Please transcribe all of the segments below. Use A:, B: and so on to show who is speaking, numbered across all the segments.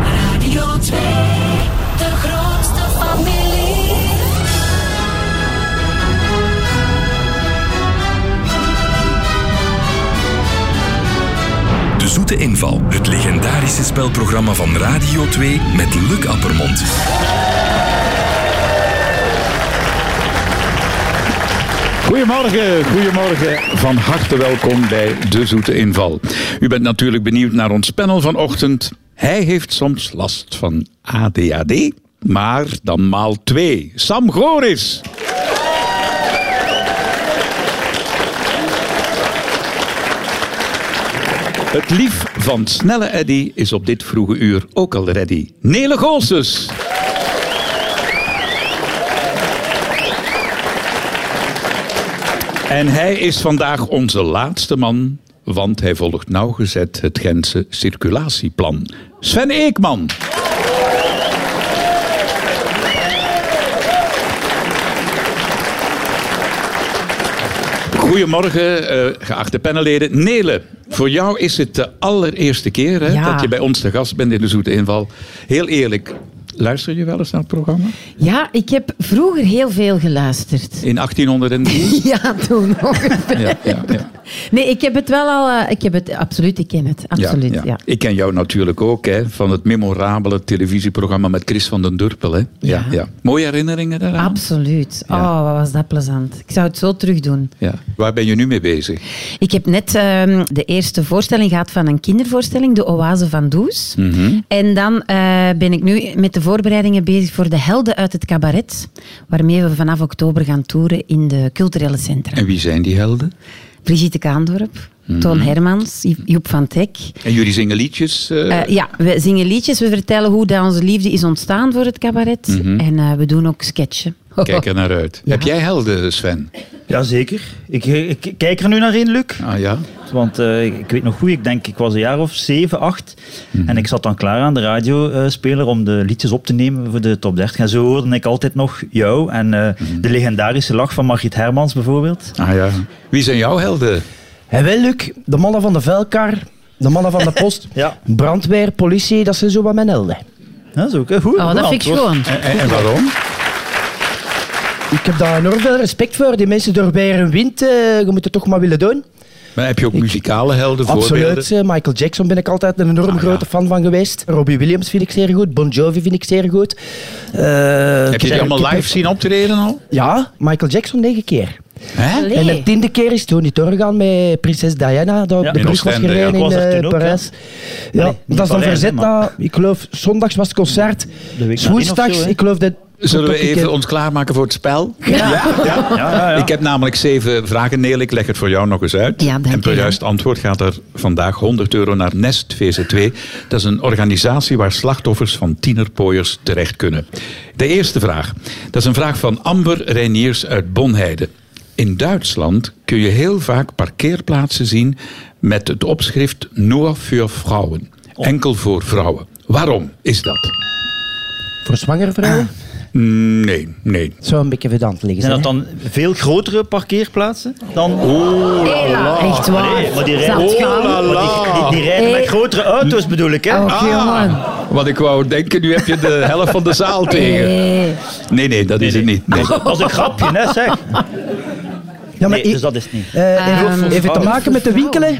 A: Radio 2, de grootste familie.
B: De Zoete Inval, het legendarische spelprogramma van Radio 2 met Luc Appermond.
C: Goedemorgen, goedemorgen. Van harte welkom bij De Zoete Inval. U bent natuurlijk benieuwd naar ons panel vanochtend. Hij heeft soms last van ADHD, maar dan maal twee. Sam Goris. Het lief van snelle Eddy is op dit vroege uur ook al ready. Nele Golsus. En hij is vandaag onze laatste man, want hij volgt nauwgezet het Gentse circulatieplan. Sven Eekman. Goedemorgen, eh, geachte panelleden. Nele, voor jou is het de allereerste keer hè,
D: Ja.
C: dat je bij ons te gast bent in de Zoete Inval. Heel eerlijk, luister je wel eens naar het programma?
D: Ja, ik heb vroeger heel veel geluisterd.
C: In 1803?
D: Ja, toen ongeveer.
C: ja, ja, ja.
D: Nee, ik heb het wel al... eh, ik heb het absoluut, ik ken het. Absoluut, ja.
C: Ik ken jou natuurlijk ook hè, van het memorabele televisieprogramma met Chris van den Durpel. Hè? Ja, ja.
D: Ja.
C: Mooie herinneringen daaraan?
D: Absoluut.
C: Ja.
D: Oh, wat was dat plezant. Ik zou het zo terug doen.
C: Ja. Waar ben je nu mee bezig?
D: Ik heb net ehm, de eerste voorstelling gehad van een kindervoorstelling, De Oase van Does.
C: Mhm.
D: En dan eh, ben ik nu met de voorbereidingen bezig voor De Helden uit het Cabaret, waarmee we vanaf oktober gaan toeren in de culturele centra.
C: En wie zijn die helden?
D: Brigitte Kaandorp, Toon
C: Mhm.
D: Hermans, Jo- Joep van Teck,
C: En jullie zingen liedjes? eh,
D: Eh, ja, we zingen liedjes, we vertellen hoe dat onze liefde is ontstaan voor het cabaret. En eh, we doen ook sketchen.
C: Mhm. Kijk er naar uit. Heb jij helden, Sven?
E: Jazeker. Ik, eh, ik kijk er nu naar in, Luc.
C: Ah ja.
E: Want eh, ik weet nog goed, ik denk ik was een jaar of zeven, acht.
F: Mhm.
E: En ik zat dan klaar aan de radiospeler om de liedjes op te nemen voor de top 30. En zo hoorde ik altijd nog jou en eh,
F: Mhm.
E: de legendarische lach van Margriet Hermans bijvoorbeeld.
C: Ah ja. Wie zijn jouw helden?
F: En wel, Luc, de mannen van de velkar, de mannen van de post,
E: Ja.
F: brandweer, politie, dat zijn zo wat mijn helden.
E: Ja, zo, goed, goed
D: Oh, dat vind ik
E: antwoord.
D: schoon.
C: En, en- en waarom?
F: Ik heb daar enorm veel respect voor. Die mensen door weer een wind, eh, je moet het toch maar willen doen.
C: Maar heb je ook muzikale helden, voorbeelden? Ah,
F: Absoluut. eh, Michael Jackson ben ik altijd een enorm grote fan van geweest. Robbie Williams vind ik zeer goed. Bon Jovi vind ik zeer goed. Eh,
C: Heb je die allemaal
F: ik heb-
C: live zien optreden al?
F: Ja, Michael Jackson negen keer.
C: Hè?
D: Allee.
F: En de tiende keer is Tony doorgegaan met prinses Diana, dat op
E: Ja.
F: de
C: In
F: brug was
C: Oostende, ja.
F: gereden
E: Ik was
F: in
E: er
F: eh,
E: toen ook,
F: Parijs. Ja,
E: Allee, niet
F: dat is dan
E: Parijs,
F: verzet
E: hè, maar-
F: dat, ik geloof, zondags was het concert,
E: nadien of
F: woensdags,
E: zo, hè?
F: ik geloof dat...
C: Zullen we
F: tot ik-
C: even ons klaarmaken voor het spel?
E: Ja, ja, ja.
C: Ik heb namelijk zeven vragen. Neel, ik leg het voor jou nog eens uit.
D: Ja, dank
C: en per
D: je wel.
C: juist antwoord gaat er vandaag 100 euro naar Nest VZ2. Dat is een organisatie waar slachtoffers van tienerpooiers terecht kunnen. De eerste vraag. Dat is een vraag van Amber Reiniers uit Bonheide. In Duitsland kun je heel vaak parkeerplaatsen zien met het opschrift Nur für Frauen.
D: Oh.
C: Enkel voor vrouwen. Waarom is dat?
F: Voor zwangere vrouwen?
C: Nee, nee.
F: Zou een beetje verdant liggen.
E: Zijn Ah. dat
F: hè?
E: dan veel grotere parkeerplaatsen dan...
D: Ela, Ah, echt waar.
E: Allee, maar die
D: Oh. Zal
E: rijden, Oh,
D: het gaan? Oh,
E: die, die, die rijden
D: Hey.
E: met grotere auto's bedoel ik, hè?
D: Och, jongen.
C: Ah, Wat ik wou denken, nu heb je de helft van de zaal tegen.
D: Nee.
C: Nee, nee, dat is het niet. Nee.
E: Ah, Dat was een grapje, hè, zeg.
F: Ja, maar
E: Nee,
F: i-
E: dus dat is het niet.
F: eh,
D: Ehm,
F: even, even te maken met de winkelen?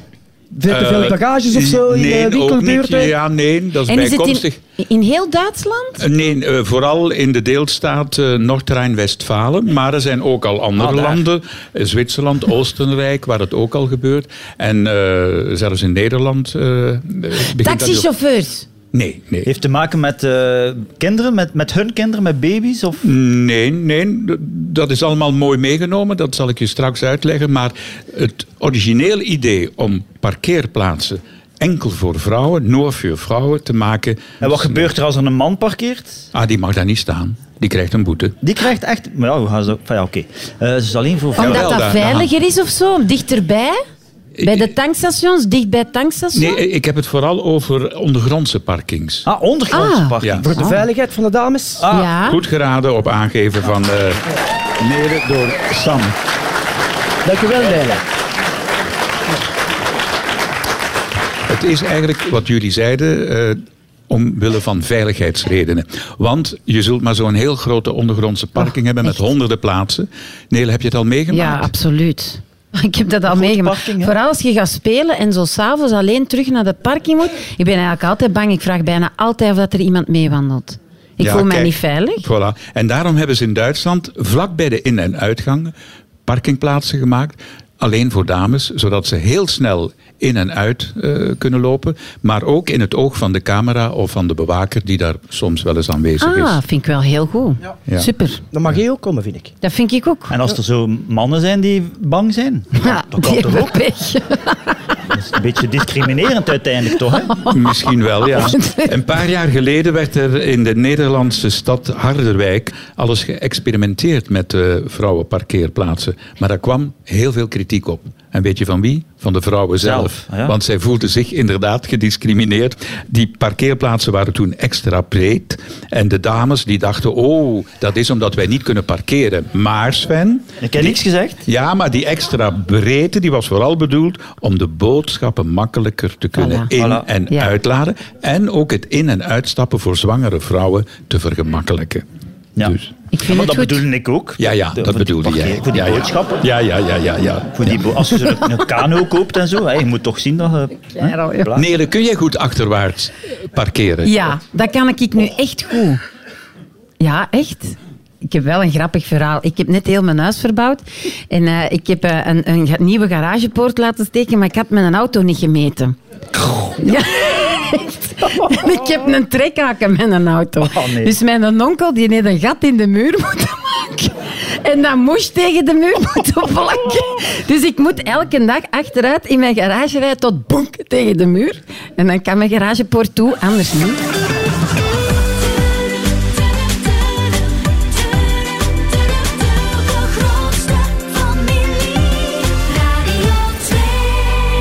F: Veel te veel
C: Eh,
F: bagages of zo in eh,
C: nee, ook
F: de
C: niet.
F: winkelbuurten?
C: Ja, nee, dat is
D: En is het
C: bijkomstig.
D: in, in heel Duitsland?
C: Eh, Nee, eh, vooral in de deelstaat eh Noord-Rijn-Westfalen. Maar er zijn ook al andere
E: Ah, daar.
C: landen. eh, Zwitserland, Oostenrijk, waar het ook al gebeurt. En eh, zelfs in Nederland. eh, begint dat nu ook-
D: Taxichauffeurs.
C: Nee, nee.
E: Heeft te maken met eh, kinderen, met, met hun kinderen, met baby's? Of?
C: Nee, nee, d- dat is allemaal mooi meegenomen. Dat zal ik je straks uitleggen. Maar het origineel idee om parkeerplaatsen enkel voor vrouwen, nur voor vrouwen, te maken.
E: En wat gebeurt er als er een man parkeert?
C: Ah, die mag daar niet staan. Die krijgt een boete.
E: Die krijgt echt... Maar ja, hoe gaan ze... Van, ja, oké. Eh, ze is alleen voor vrouwen.
C: wel,
D: Omdat dat
C: daar-
D: veiliger is of zo? Dichterbij? Bij de tankstations? Dicht bij het tankstation?
C: Nee, eh, ik heb het vooral over ondergrondse parkings.
E: Ah, ondergrondse
D: Ah.
E: parking.
C: Ja.
F: Voor de veiligheid van de dames?
D: ja.
C: Goed geraden op aangeven van eh Nere door Sam.
E: Ah.
F: Dankjewel, Nijlen.
C: Het is eigenlijk wat jullie zeiden. eh, omwille van veiligheidsredenen. Want je zult maar zo'n heel grote ondergrondse parking hebben met honderden plaatsen. Nele, heb je het al
D: Ja,
C: meegemaakt?
D: absoluut. Ik heb dat al meegemaakt.
E: parking, hè?
D: Vooral als je gaat spelen en zo s'avonds alleen terug naar de parking moet. Ik ben eigenlijk altijd bang. Ik vraag bijna altijd of dat er iemand meewandelt. Ik
C: Ja,
D: voel mij
C: kijk.
D: niet veilig.
C: Voilà. En daarom hebben ze in Duitsland vlak bij de in- en uitgangen parkingplaatsen gemaakt. Alleen voor dames, zodat ze heel snel in en uit eh, kunnen lopen. Maar ook in het oog van de camera of van de bewaker die daar soms wel eens aanwezig
D: Ah,
C: is.
D: vind ik wel heel goed.
C: Ja.
D: Super.
F: Dan mag jij ook komen, vind ik.
D: Dat vind ik ook.
E: En als er zo mannen zijn die bang zijn,
D: ja,
E: dat kan
D: die
E: toch
D: hebben
E: ook?
D: pech.
E: Dat is een beetje discriminerend uiteindelijk toch? Hè?
C: Misschien wel, ja. Een paar jaar geleden werd er in de Nederlandse stad Harderwijk alles geëxperimenteerd met eh, vrouwenparkeerplaatsen. Maar daar kwam heel veel kritiek op. En weet je van wie? Van de vrouwen zelf.
E: Zelf, ah ja.
C: Want zij voelden zich inderdaad gediscrimineerd. Die parkeerplaatsen waren toen extra breed. En de dames die dachten, oh, dat is omdat wij niet kunnen parkeren. Maar Sven,
E: Ik heb niks gezegd.
C: ja, maar die extra breedte die was vooral bedoeld om de boodschappen makkelijker te kunnen
D: Voilà.
C: in-
E: Voilà.
C: en
D: Ja.
C: uitladen. En ook het in- en uitstappen voor zwangere vrouwen te vergemakkelijken.
E: Ja.
C: Dus,
D: Ik
E: Ja,
D: vind
E: maar
D: het
E: dat
D: goed.
E: bedoelde ik ook.
C: ja, ja,
E: De-
C: dat
E: voor die
C: bedoelde
E: parkeer-
C: jij.
E: Voor die
C: ja, ja.
E: boodschappen.
C: Ja, ja, ja, ja. ja.
E: Voor die bo- als je zo een, een kano koopt en zo, hè, je moet toch zien dat je... hè,
D: Ja, al, ja.
E: bla-
C: Nele, kun jij goed achterwaarts parkeren?
D: Ja, dat kan ik nu echt goed. Ja, echt. Ik heb wel een grappig verhaal. Ik heb net heel mijn huis verbouwd. En eh, ik heb eh, een, een ga- nieuwe garagepoort laten steken, maar ik had mijn auto niet gemeten. Ja, echt. En ik heb een trekhaken met een auto.
E: Oh, nee.
D: Dus mijn onkel die heeft een gat in de muur moeten maken. En dat moest tegen de muur moeten vlakken. Dus ik moet elke dag achteruit in mijn garage rijden tot bonk tegen de muur. En dan kan mijn garagepoort toe, anders niet.
A: De grootste familie. Radio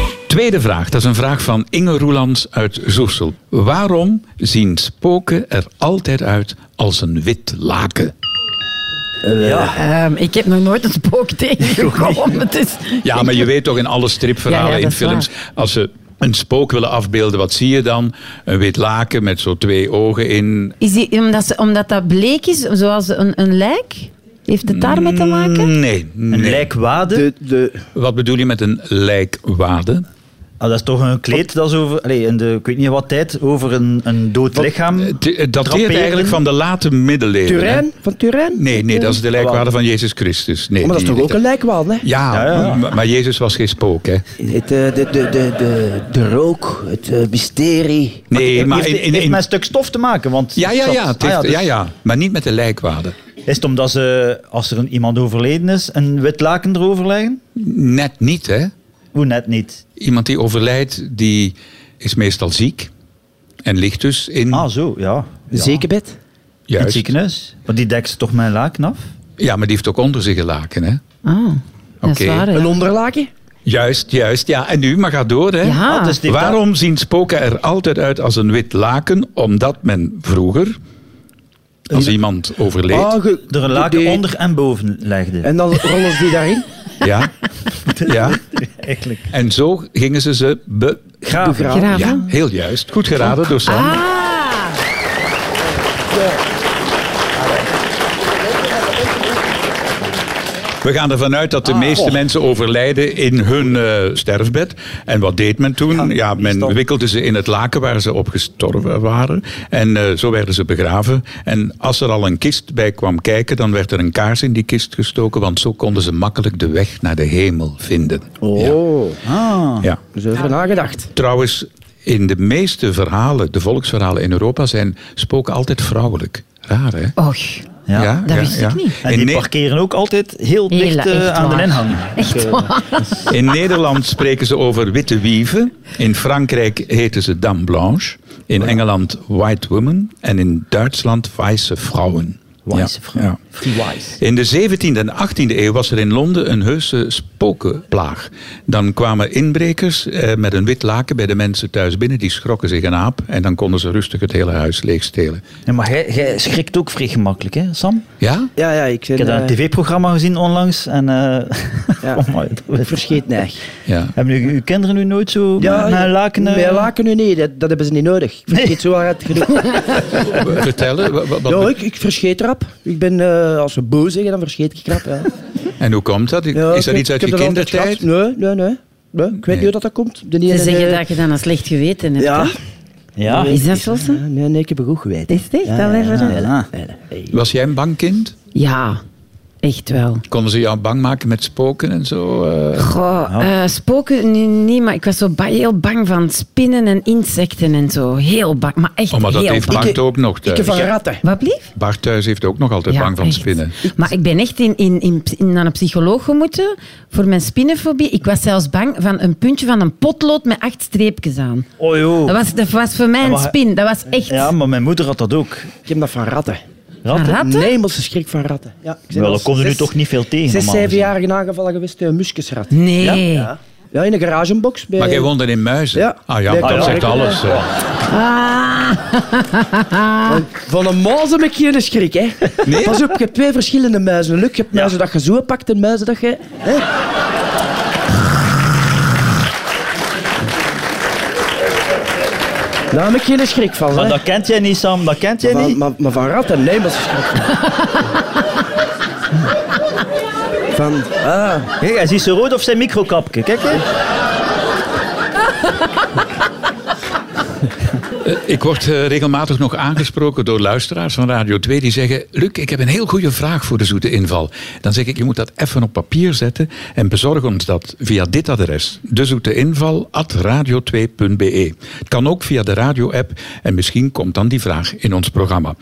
A: 2.
C: Tweede vraag, dat is een vraag van Inge Roelands uit Zoersel. Waarom zien spoken er altijd uit als een wit laken?
E: Ja.
D: Ehm, ik heb nog nooit een spook tegengekomen. Dus
C: Ja, maar je weet toch in alle stripverhalen,
D: Ja, ja, dat
C: in
D: is
C: films, als ze een spook willen afbeelden, wat zie je dan? Een wit laken met zo twee ogen in.
D: is die, omdat, ze, omdat dat bleek is, zoals een, een lijk? Heeft het daarmee
C: Mm.
D: te maken?
C: Nee,
E: Een
C: nee.
E: lijkwade,
F: De, de,
C: Wat bedoel je met een lijkwade?
E: Ah, dat is toch een kleed dat zo over, allee, in de, ik weet niet wat tijd, over een, een dood lichaam.
C: Het- Het Eh, dateert
E: Draperen.
C: eigenlijk van de late middeleeuwen. hè?
F: Turijn? Van Turijn? Oh,
C: Nee, nee, dat is de lijkwade van Jezus Christus. Nee,
F: Maar dat is
C: die
F: toch ook
C: ligt er-
F: een lijkwal, hè?
C: Ja,
E: Ja, ja.
C: maar- maar Jezus was geen spook, hè?
F: Het, eh, de, de, de, de, de rook, het eh, mysterie.
C: Nee, maar
E: heeft,
C: in, in,
E: heeft
C: in-
E: met een stuk stof te maken. Want
C: ja, ja,
E: zat-
C: ja, het
E: ah,
C: heeft-
E: dus
C: ja, ja, maar niet met de lijkwade.
E: Is het omdat ze, als er een, iemand overleden is, een wit laken erover leggen?
C: Net niet, hè?
E: Hoe net niet.
C: Iemand die overlijdt, die is meestal ziek. En ligt dus in...
E: Ah, zo, ja. ja.
F: Zekerbed?
E: In het
C: Juist.
E: ziekenhuis. Want die dekt ze toch met een laken af?
C: Ja, maar die heeft ook onder zich een laken, hè?
D: Ah, dat is
C: Oké.
D: waar.
F: Een
D: Ja.
F: onderlaken?
C: Juist, juist. Ja, en nu, maar ga door, hè?
D: Ja.
E: Ah, dus die heeft
C: Waarom zien spoken er altijd uit als een wit laken? Omdat men vroeger, als iemand overleed...
F: Ah, ge-
E: Er een laken
F: die-
E: onder en boven legde.
F: En dan rollen ze die daarin?
C: Ja, ja.
E: Eigenlijk.
C: En zo gingen ze ze be...
E: Graven.
F: Begraven.
D: Graven.
C: Ja, heel juist. Goed geraden door Sam.
D: Ah,
C: We gaan ervan uit dat de
D: Ah,
C: meeste mensen overlijden in hun eh, sterfbed. En wat deed men toen?
D: Ah,
C: Ja, men
E: dan?
C: wikkelde ze in het laken waar ze op gestorven waren. En eh, zo werden ze begraven. En als er al een kist bij kwam kijken, dan werd er een kaars in die kist gestoken. Want zo konden ze makkelijk de weg naar de hemel vinden. Ja.
F: Oh,
E: Ah.
C: ja.
F: dus over nagedacht.
C: Trouwens, in de meeste verhalen, de volksverhalen in Europa, zijn spoken altijd vrouwelijk. Raar, hè?
D: och.
E: Ja.
D: dat wist ik niet.
E: En
C: In
E: die
C: Ne-
E: parkeren ook altijd heel
D: Hela,
E: dicht eh,
D: echt
E: aan de
D: waar.
E: Dus, eh, inhang.
D: Echt waar.
C: In Nederland spreken ze over witte wieven. In Frankrijk heten ze dame blanche. In Engeland white woman. En in Duitsland weiße vrouwen.
E: Wijze
C: Ja,
E: vrouw.
C: ja. In de 17e en 18e eeuw was er in Londen een heuse spokenplaag. Dan kwamen inbrekers eh, met een wit laken bij de mensen thuis binnen. Die schrokken zich een aap en dan konden ze rustig het hele huis leegstelen.
E: Ja, maar jij, jij schrikt ook vrij gemakkelijk, hè, Sam?
C: Ja?
F: Ja, ja, ik
E: Ik
F: ben
E: heb daar
F: eh,
E: een tv-programma gezien onlangs en... eh
F: Ja.
E: oh my, dat-
F: verscheet neig.
C: Ja.
E: Hebben uw, uw kinderen nu nooit zo met een laken... eh,
F: Mijn laken nu niet, dat, dat hebben ze niet nodig. Ik verscheet zo hard genoeg.
C: Vertellen. wa- wa- wat-
F: ja, ik, ik verscheet rap. Ik ben, eh, als ze boos zeggen, dan verscheet ik rap. Ja.
C: En hoe komt dat?
F: Ja,
C: Is
F: ik
C: dat
F: heb-
C: iets uit
F: ik
C: je
F: heb dat altijd
C: kindertijd?
F: gehad. Nee, nee, nee. Nee, ik weet
C: Nee.
F: niet hoe dat, dat komt. De
D: Ze
F: ene-
D: zeggen dat je dan een slecht geweten hebt.
F: Ja.
D: hè?
E: Ja.
D: Is dat zo?
F: Ja, Nee, nee, ik heb een goed geweten.
D: Is het echt?
F: Ja,
D: Allee,
F: ja,
D: verder.
F: ja,
E: Ja.
F: ja, ja.
C: Was jij een bang kind?
D: Ja, echt wel.
C: Konden ze jou bang maken met spoken en zo? eh?
D: Goh, eh, spoken nu niet, maar ik was zo ba- heel bang van spinnen en insecten en zo. Heel bang, maar echt
C: Oh, maar dat
D: heel
C: heeft
D: bang.
C: Bart ook nog
F: Ik
C: thuis.
F: heb van ratten.
D: Wat blief?
C: Bart thuis heeft ook nog altijd bang van
D: echt.
C: spinnen.
D: Maar ik ben echt in, in, in, in- naar een psycholoog gemoeten voor mijn spinnenfobie. Ik was zelfs bang van een puntje van een potlood met acht streepjes aan.
E: Oh joh.
C: Ah,
D: Dat was, dat was voor mij een
E: maar-
D: spin. Dat was echt...
E: Ja, maar mijn moeder had dat ook.
F: Ik heb dat van ratten.
E: Ratten?
D: Ratten?
F: Een hemelse schrik van ratten. Ja, ik ben
E: Wel,
F: al
E: dat komt er nu
F: zes-
E: toch niet veel tegen,
F: Zes,
E: normaal
F: zevenjarige aangevallen geweest, een muskusrat.
D: Nee.
F: Ja, ja. ja, in een garagebox. Bij...
C: Maar jij woonde in Muizen?
F: Eh, Ja.
C: Ah ja,
F: Bij
C: dat
E: Tom
C: zegt
F: Rekken.
C: alles. eh.
D: Ah.
F: Van een muis heb ik geen schrik, hè.
C: Nee?
F: Pas op, je hebt twee verschillende muizen. Luc, je hebt muizen dat je zo pakt en muizen dat je... Hè? Daar heb ik geen schrik van,
E: Maar
F: hè.
E: dat kent jij niet, Sam. Dat kent jij
F: Maar,
E: niet.
F: maar, maar van ratten, nee, maar ze schrik. Van, ah,
E: Hé, hij ziet ze rood of zijn microkapje. Kijk, hè.
C: Ik word eh, regelmatig nog aangesproken door luisteraars van Radio 2 die zeggen: Luc, ik heb een heel goede vraag voor de zoete inval. Dan zeg ik: Je moet dat even op papier zetten en bezorg ons dat via dit adres: dezoeteinval.radio2.be. Het kan ook via de radio-app en misschien komt dan die vraag in ons programma.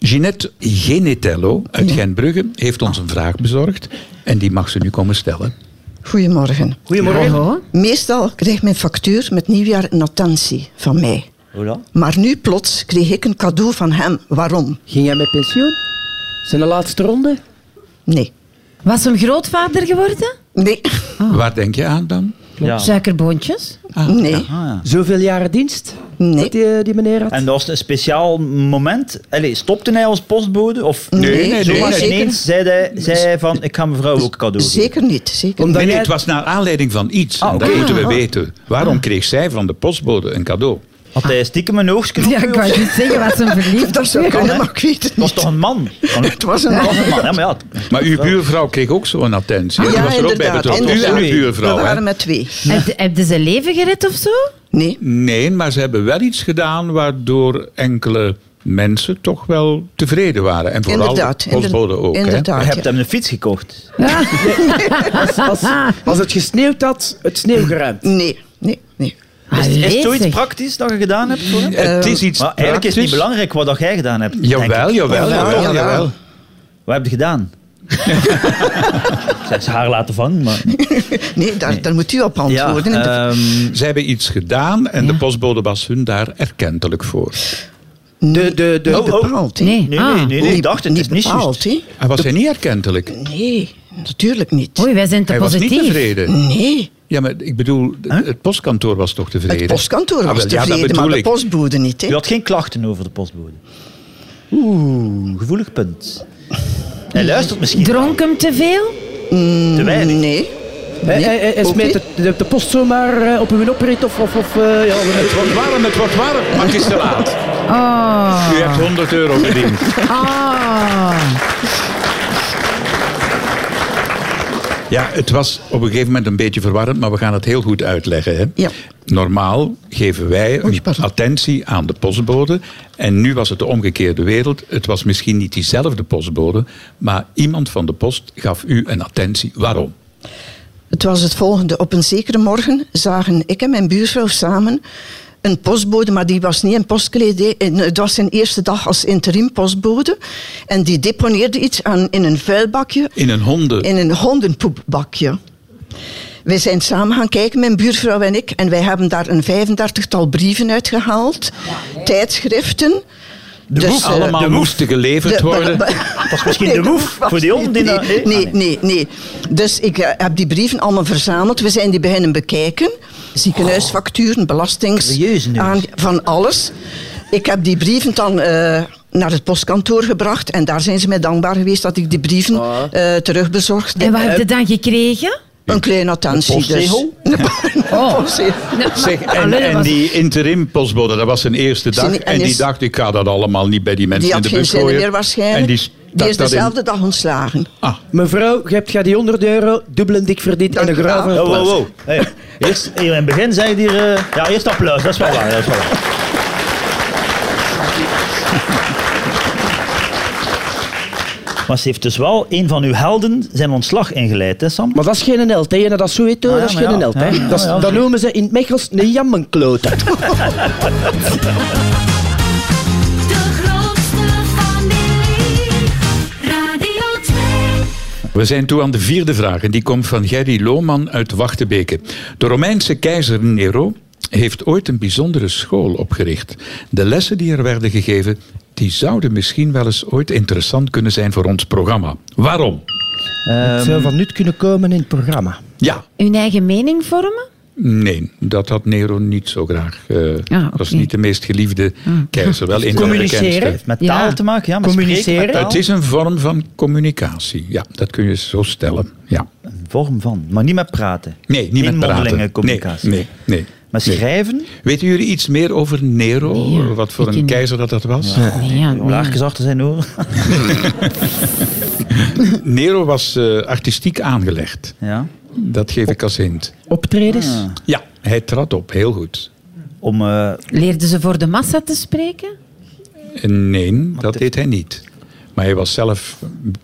C: Ginette Genitello uit Gentbrugge heeft ons een vraag bezorgd en die mag ze nu komen stellen.
G: Goedemorgen.
E: Goedemorgen.
D: Oh.
G: Meestal kreeg mijn factuur met nieuwjaar een attentie van mij.
E: Hola.
G: Maar nu plots kreeg ik een cadeau van hem. Waarom?
F: ging jij met pensioen? Zijn de laatste ronde?
G: Nee.
D: Was hem grootvader geworden?
G: Nee.
C: Waar denk je aan dan?
E: Ja.
D: Suikerboontjes?
G: Nee.
F: Zoveel jaren dienst?
G: Nee.
F: Dat die, die meneer had?
E: En dat was een speciaal moment. Allee, stopte hij als postbode? Of
G: Nee, nee, nee,
E: Zomaar
G: nee.
E: ineens zei hij, zei hij van, ik ga mevrouw ook cadeau geven.
G: Zeker niet. Zeker
F: Omdat
C: Nee, nee,
F: jij-
C: het was naar aanleiding van iets.
E: Ah,
C: En
E: oké.
C: Dat moeten we weten. Waarom
G: Ah.
C: kreeg zij van de postbode een cadeau?
E: Had hij stiekem een oogstje op
D: Ja,
E: u
D: ik
E: of
D: wou
E: zo?
D: niet zeggen, was hem verliefd.
G: Dat zou
E: kan, hè.
G: kunnen, maar ik weet het
E: Het was
G: niet.
E: toch een man? Kan ook-
G: Het was een
E: Het was
G: halve
E: een man, hè, maar ja.
C: Maar uw buurvrouw kreeg ook zo'n attentie.
G: Ah, Ja,
C: Die was er ook bij
G: inderdaad.
C: betrokken. U en uw
G: inderdaad.
C: buurvrouw.
G: We
C: hè?
G: waren met twee.
D: Heb, heb je zijn leven gered of zo?
G: Nee.
C: Nee, maar ze hebben wel iets gedaan waardoor enkele mensen toch wel tevreden waren. En vooral
G: Inderdaad.
C: de postbode
G: Inder-
C: ook. hè?
G: Inderdaad.
E: Je hebt
G: ja.
E: hem een fiets gekocht.
F: Als, als het gesneeuwd had, het sneeuw geruimd.
G: Nee. Nee. Nee.
D: Allee,
E: Is het zoiets
D: zeg.
E: praktisch dat je gedaan hebt voor hem?
C: Het
G: Eh,
C: is iets
E: Maar eigenlijk is het
C: praktisch.
E: niet belangrijk wat dat jij gedaan hebt. denk
C: Jawel,
E: ik.
C: jawel,
G: Jawel,
C: jawel,
G: jawel.
C: jawel.
E: Wat heb je gedaan? Ik zeg, ze haar laten vangen, maar...
G: Nee, daar, daar moet u op antwoorden. En de-
E: ehm,
C: Ze hebben iets gedaan en de postbode was hun daar erkentelijk voor.
F: De, de, de,
G: niet
E: oh.
G: bepaald, hè.
D: Nee.
E: nee,
D: Ah.
E: nee, nee, nee, ik dacht het,
G: niet
E: het is niet
G: bepaald,
E: juist.
G: hè.
C: En was hij niet erkentelijk?
G: Nee, natuurlijk niet.
D: Oei, wij zijn te
C: Hij was niet
D: positief.
C: tevreden.
G: Nee.
C: Ja, maar ik bedoel, het postkantoor was toch tevreden?
G: Het postkantoor
C: Ah,
G: was
C: wel, ja, dat
G: tevreden,
C: bedoel
G: maar de
C: ik.
G: postbode niet.
E: U
G: Hè.
E: had geen klachten over de postbode. Oeh, gevoelig punt. Hij luistert misschien
D: Dronk hem te veel?
E: te weinig.
G: Eh, Nee.
F: Hij- hij- hij
G: Nee, ook
F: smeet
G: niet.
F: de, de, de post zomaar eh, op hun oprit of... of, of eh, ja,
C: Het wordt warm, het wordt warm, maar het is te laat.
D: Oh.
G: Ah.
C: U hebt 100 euro verdiend.
D: Ah.
C: Ja, het was op een gegeven moment een beetje verwarrend, maar we gaan het heel goed uitleggen. Hè?
G: Ja.
C: Normaal geven wij
G: Oei,
C: een
G: pardon.
C: attentie aan de postbode. En nu was het de omgekeerde wereld. Het was misschien niet diezelfde postbode, maar iemand van de post gaf u een attentie. Waarom?
G: Het was het volgende. Op een zekere morgen zagen ik en mijn buurvrouw samen een postbode, maar die was niet in postkledij. En Het was zijn eerste dag als interim postbode. En die deponeerde iets aan, in een vuilbakje,
C: In een honden.
G: in een hondenpoepbakje. Wij zijn samen gaan kijken, mijn buurvrouw en ik. En wij hebben daar een 35-tal brieven uitgehaald. Tijdschriften.
C: De
G: Dus,
C: woef,
G: eh,
C: allemaal
E: de woef.
C: moesten geleverd worden.
E: Dat was misschien de woef
G: was
E: voor die hond. die
G: niet,
E: dat-
G: Nee,
E: eh,
G: nee,
E: ah,
G: nee, nee. Dus ik eh, heb die brieven allemaal verzameld. We zijn die beginnen bekijken.
E: Oh,
G: Ziekenhuisfacturen, belastings...
E: Curieuze nummers.
G: aan- Van alles. Ik heb die brieven dan... eh, naar het postkantoor gebracht en daar zijn ze mij dankbaar geweest dat ik die brieven
E: Ah.
G: eh, terugbezorgd
D: En
G: heb.
D: wat heb je dan gekregen?
G: Een kleine attentie
E: postzegel?
G: dus. Een
D: Oh.
G: postzegel.
C: Zeg, en,
D: Allee, dat
C: en
D: was-
C: die interim postbode, dat was zijn eerste dag.
G: Zijn- en
C: En die
G: is-
C: dacht, ik ga dat allemaal niet bij die mensen in
G: Die had
C: de
G: geen
C: bus
G: zin
C: gooien.
G: meer waarschijnlijk.
C: En die
G: die,
C: stak
G: is
C: dat in- Ah,
G: dezelfde dag ontslagen.
F: Mevrouw, je hebt gij die 100 euro dubbel en dik verdiend en een
G: Dank u
F: grauwe
G: wel.
E: Wow, wow,
F: applaus.
E: wow. Oh, Hey, eerst, hier in het begin zei hij hier... eh, ja, eerst applaus. Dat is wel waar. Dat is wel waar. Maar ze heeft dus wel een van uw helden zijn ontslag ingeleid, hè Sam?
F: Maar dat is geen held, hè. Dat is zo heet, hoor.
E: Ah, ja,
F: dat is
E: maar
F: geen
E: ja.
F: held, hè.
E: Ja, ja,
F: dat, is-
E: ja, Ehm,
F: dat
E: zeker.
F: noemen ze in het Mechels een jammenklote.
A: De grootste familie. Radio 2.
C: We zijn toe aan de vierde vraag en die komt van Gerry Lohman uit Wachtebeke. De Romeinse keizer Nero heeft ooit een bijzondere school opgericht. De lessen die er werden gegeven, die zouden misschien wel eens ooit interessant kunnen zijn voor ons programma. Waarom?
F: Het zou van nut kunnen komen in het programma.
C: Ja,
D: Hun eigen mening vormen?
C: nee, dat had Nero niet zo graag. Eh,
D: Ah, oké. Ah.
C: Dat is niet de meest geliefde keizer, wel een van de
F: Communiceren.
C: bekendste.
E: Heeft met
D: Ja.
E: taal te maken, ja. Met
F: Communiceren.
E: spreken, met
C: Het
E: taal.
C: is een vorm van communicatie. Ja, dat kun je zo stellen. Ja.
E: Een vorm van, maar niet met praten.
C: Nee, niet met
E: Geen
C: praten.
E: mondelinge communicatie.
C: Nee, nee, nee.
E: Maar
C: Nee.
E: schrijven,
C: Weten jullie iets meer over Nero?
D: Nee,
C: Wat voor
D: ik
C: een
D: niet.
C: keizer dat dat was?
D: Nee, ja,
F: Mm.
D: nee.
E: laagjes achter zijn oor.
C: Nero was eh, artistiek aangelegd.
E: Ja.
C: Dat geef ik als hint.
F: Optredens.
C: Ja, hij trad op, heel goed.
E: Om, eh,
D: Leerden ze voor de massa te spreken?
C: En nee, dat
E: dit-
C: deed hij niet. Maar hij was zelf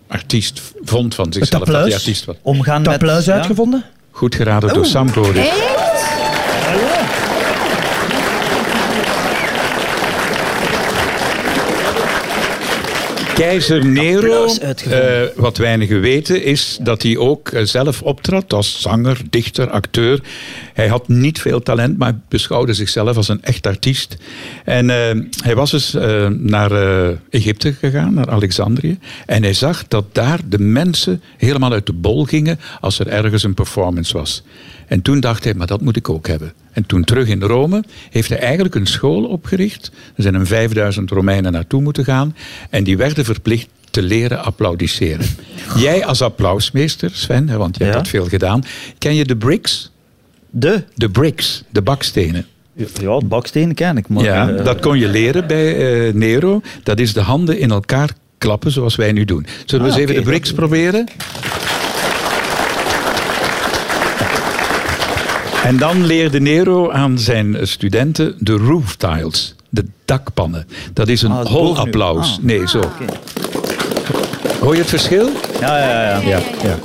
C: artiest, vond van zichzelf dat
F: applaus?
C: hij artiest was.
E: omgaan
F: Het
E: met...
F: applaus
E: ja.
F: uitgevonden.
C: Goed geraden door dus. Sam Goris. Keizer Nero,
E: Applaus uitgevonden.
C: eh, wat weinigen weten, is dat hij ook eh, zelf optrad als zanger, dichter, acteur. Hij had niet veel talent, maar beschouwde zichzelf als een echt artiest. En eh, hij was dus eh, naar eh, Egypte gegaan, naar Alexandrië. En hij zag dat daar de mensen helemaal uit de bol gingen als er ergens een performance was. En toen dacht hij, maar dat moet ik ook hebben. En toen terug in Rome heeft hij eigenlijk een school opgericht. Er zijn een 5000 Romeinen naartoe moeten gaan. En die werden verplicht te leren applaudisseren. Jij als applausmeester, Sven, hè, want jij hebt
E: Ja.
C: dat veel gedaan. Ken je de bricks?
E: De,
C: De bricks, de bakstenen.
E: ja, het baksteen ken ik, maar...
C: ja,
E: eh,
C: dat kon je leren bij eh, Nero. Dat is de handen in elkaar klappen zoals wij nu doen. Zullen we
E: Ah,
C: eens even
E: oké.
C: de bricks proberen? En dan leerde Nero aan zijn studenten de roof tiles, de dakpannen. Dat is een
E: Ah, dat is
C: hol
E: boven nu.
C: applaus.
E: Ah.
C: Nee, zo. Hoor je het verschil?
E: Ja, ja, ja. ja.
C: Ja, ja.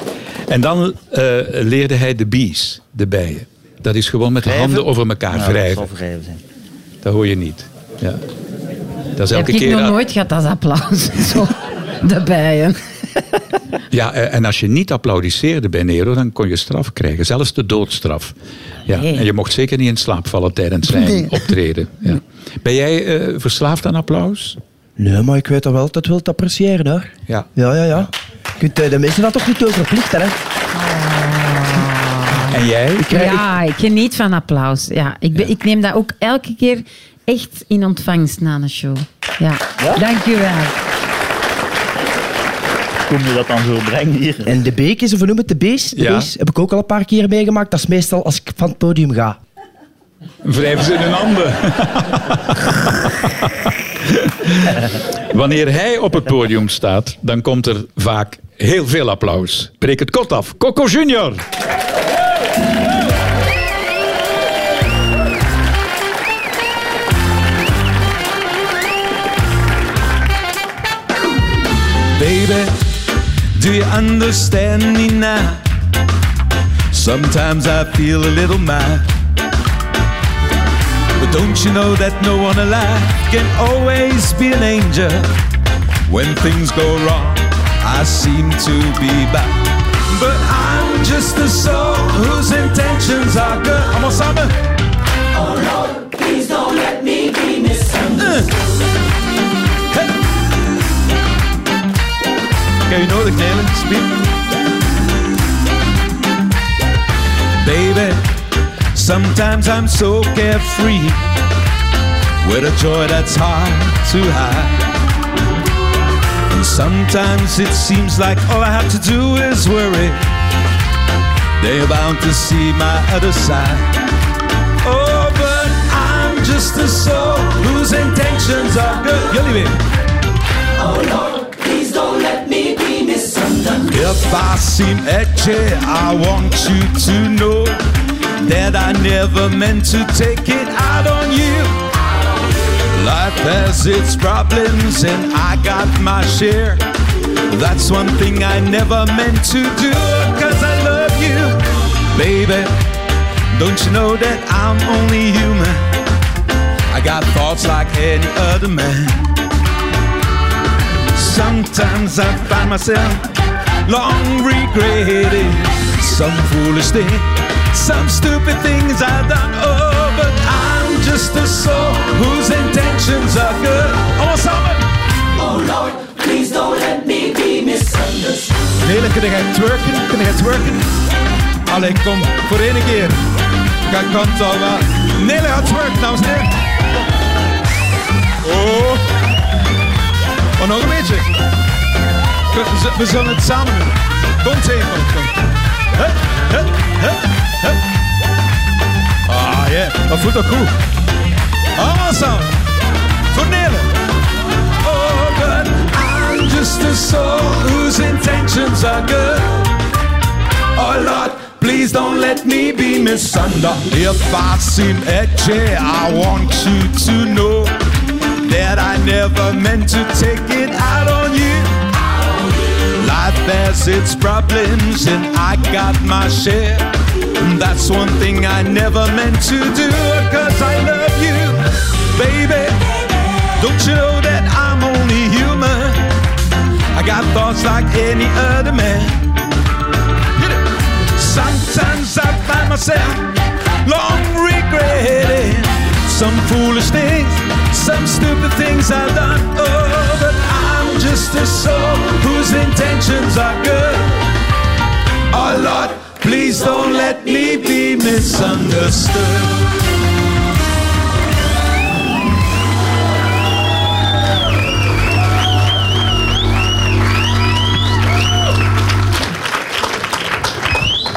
C: En dan eh, leerde hij de bees, de bijen. Dat is gewoon met de
E: Wrijven?
C: handen over elkaar
E: Ja, dat
C: wrijven.
E: zal wrijven zijn.
C: Dat hoor je niet. Ja. Dat is
D: Heb
C: elke
D: ik
C: keer.
D: nog nooit gehad als applaus. Zo, de bijen.
C: Ja, eh, en als je niet applaudisseerde bij Nero, dan kon je straf krijgen. Zelfs de doodstraf. Ja.
D: Nee.
C: En je mocht zeker niet in slaap vallen tijdens zijn optreden. Ja. Ben jij eh, verslaafd aan applaus?
F: Nee, maar ik weet dat wel, dat wil het appreciëren, hoor.
C: Ja.
F: Ja, ja, ja. Je kunt eh, de mensen dat toch niet over verplichten, hè.
C: En jij?
F: Krijg-
D: Ja, ik geniet van applaus. Ja, ik, ben, ik neem dat ook elke keer echt in ontvangst na een show. Ja, dank u wel.
E: Hoe moet je dat dan zo brengen hier?
F: En de beek is, of we noemen het de bees, de
C: Ja.
F: bees heb ik ook al een paar keer meegemaakt. Dat is meestal als ik van het podium ga.
C: Wrijven ze in hun handen. Wanneer hij op het podium staat, dan komt er vaak heel veel applaus. Breek het kot af. Coco Junior.
H: Baby, do you understand me now? Sometimes I feel a little mad. But don't you know that no one alive can always be an angel? When things go wrong, I seem to be back. But I'm just a soul whose intentions are good. I'm a summer. Oh Lord, please don't let me be misunderstood.
I: Kan je nodig nemen, Spiep? Baby, sometimes I'm so carefree with a joy that's hard to hide. And sometimes it seems like all I have to do is worry. They're bound to see my other side. Oh, but I'm just a soul whose intentions are good. Jullie weer. If I seem edgy, I want you to know that I never meant to take it out on you. Life has its problems, and I got my share. That's one thing I never meant to do, cause I love you, baby. Don't you know that I'm only human? I got thoughts like any other man. Sometimes I find myself long regretting some foolish thing, some stupid things I've done. Oh, but I'm just a soul whose intentions are good. Almost summer. Oh Lord, please don't let me be misunderstood. Lelijk, kun jij twerken? Kun jij twerken? Allee, kom, voor één keer. Kan kan toch wel. Nele gaat twerken, dames en heren. Oh. Oh, nog een beetje. We, z- we zullen het samen doen. Komt even. Kom. Hup, hup, hup, hup. Ah, ja. Dat voelt toch goed. Allemaal samen. Voor Nele. Oh, but I'm just a soul whose intentions are good. Oh, Lord. Please don't let me be misunderstood. If I seem edgy, I want you to know that I never meant to take it out on you. Life has its problems, and I got my share. And That's one thing I never meant to do, cause I love you, baby. Don't you know that I'm only human? I got thoughts like any other man. Hit it. Sometimes I find myself long regretting some foolish things, some stupid things I've done. Oh, but I'm just a soul whose intentions are good. Oh Lord, please don't let me be misunderstood.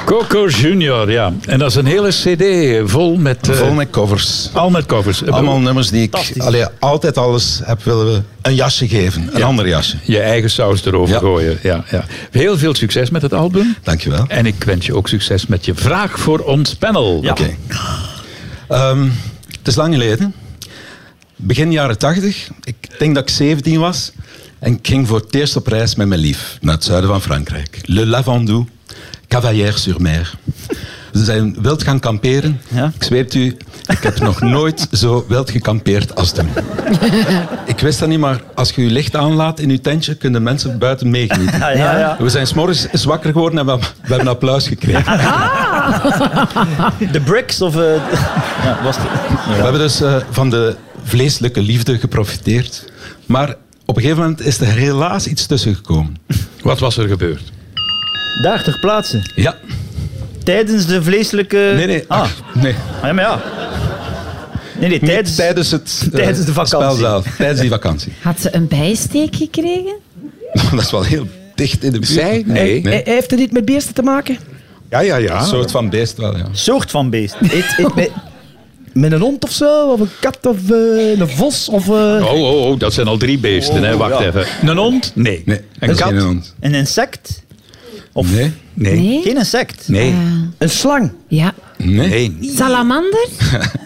C: Coco Junior, ja. En dat is een hele cd vol met... eh,
J: Vol met covers.
C: Al met covers.
J: Allemaal nummers die ik
E: Fantastisch.
J: allee, altijd alles heb willen een jasje geven. Een
C: Ja.
J: ander jasje.
C: Je eigen saus erover
J: Ja.
C: gooien. Ja, ja. Heel veel succes met het album.
J: Dankjewel.
C: En ik wens je ook succes met je vraag voor ons panel.
E: Ja.
J: Oké. Ehm, het is lang geleden. Begin jaren tachtig. Ik denk dat ik 17 was. En ik ging voor het eerst op reis met mijn lief naar het zuiden van Frankrijk. Le Lavandou, Cavalière-sur-Mer. Ze zijn wild gaan kamperen.
E: Ja.
J: Ik zweer het u, ik heb nog nooit zo wild gekampeerd als toen. ik wist dat niet, maar als je je licht aanlaat in je tentje, kunnen mensen buiten meegenieten.
E: Ja, ja, ja.
J: We zijn s'morgens zwakker geworden en we hebben- we hebben applaus gekregen.
E: De bricks of... eh, ja, was het-
J: We hebben dus eh, van de vleeselijke liefde geprofiteerd. Maar op een gegeven moment is er helaas iets tussen gekomen.
C: Wat was er gebeurd?
E: Daar ter plaatse.
J: Ja.
E: Tijdens de vleeselijke...
J: Nee, nee.
E: Ah,
J: Ach, nee.
E: ah, ja, maar ja. Nee, nee, tijdens...
J: Niet tijdens het eh,
E: tijdens de vakantie.
J: spel zelf. Tijdens die vakantie.
D: Had ze een bijsteek gekregen?
J: Dat is wel heel dicht in de buurt.
C: Zij? Nee. ah.
J: Nee.
F: Hij Heeft het niet met beesten te maken?
C: Ja, ja,
J: Een
C: ja.
J: soort van beest wel, ja.
E: Soort van beest.
F: Eet, eet met, met een hond of zo? Of een kat of eh, een vos? Of, eh,
C: Oh, oh, oh, dat zijn al drie beesten. hè. Wacht even. Een hond? Nee.
J: Oh, Nee, dat
C: Een
J: is
C: kat?
J: geen hond.
E: Een insect? Of
J: Nee.
C: Nee. Nee.
D: Nee?
E: geen insect?
C: Nee.
F: Een slang?
D: Ja.
J: Nee.
D: Salamander?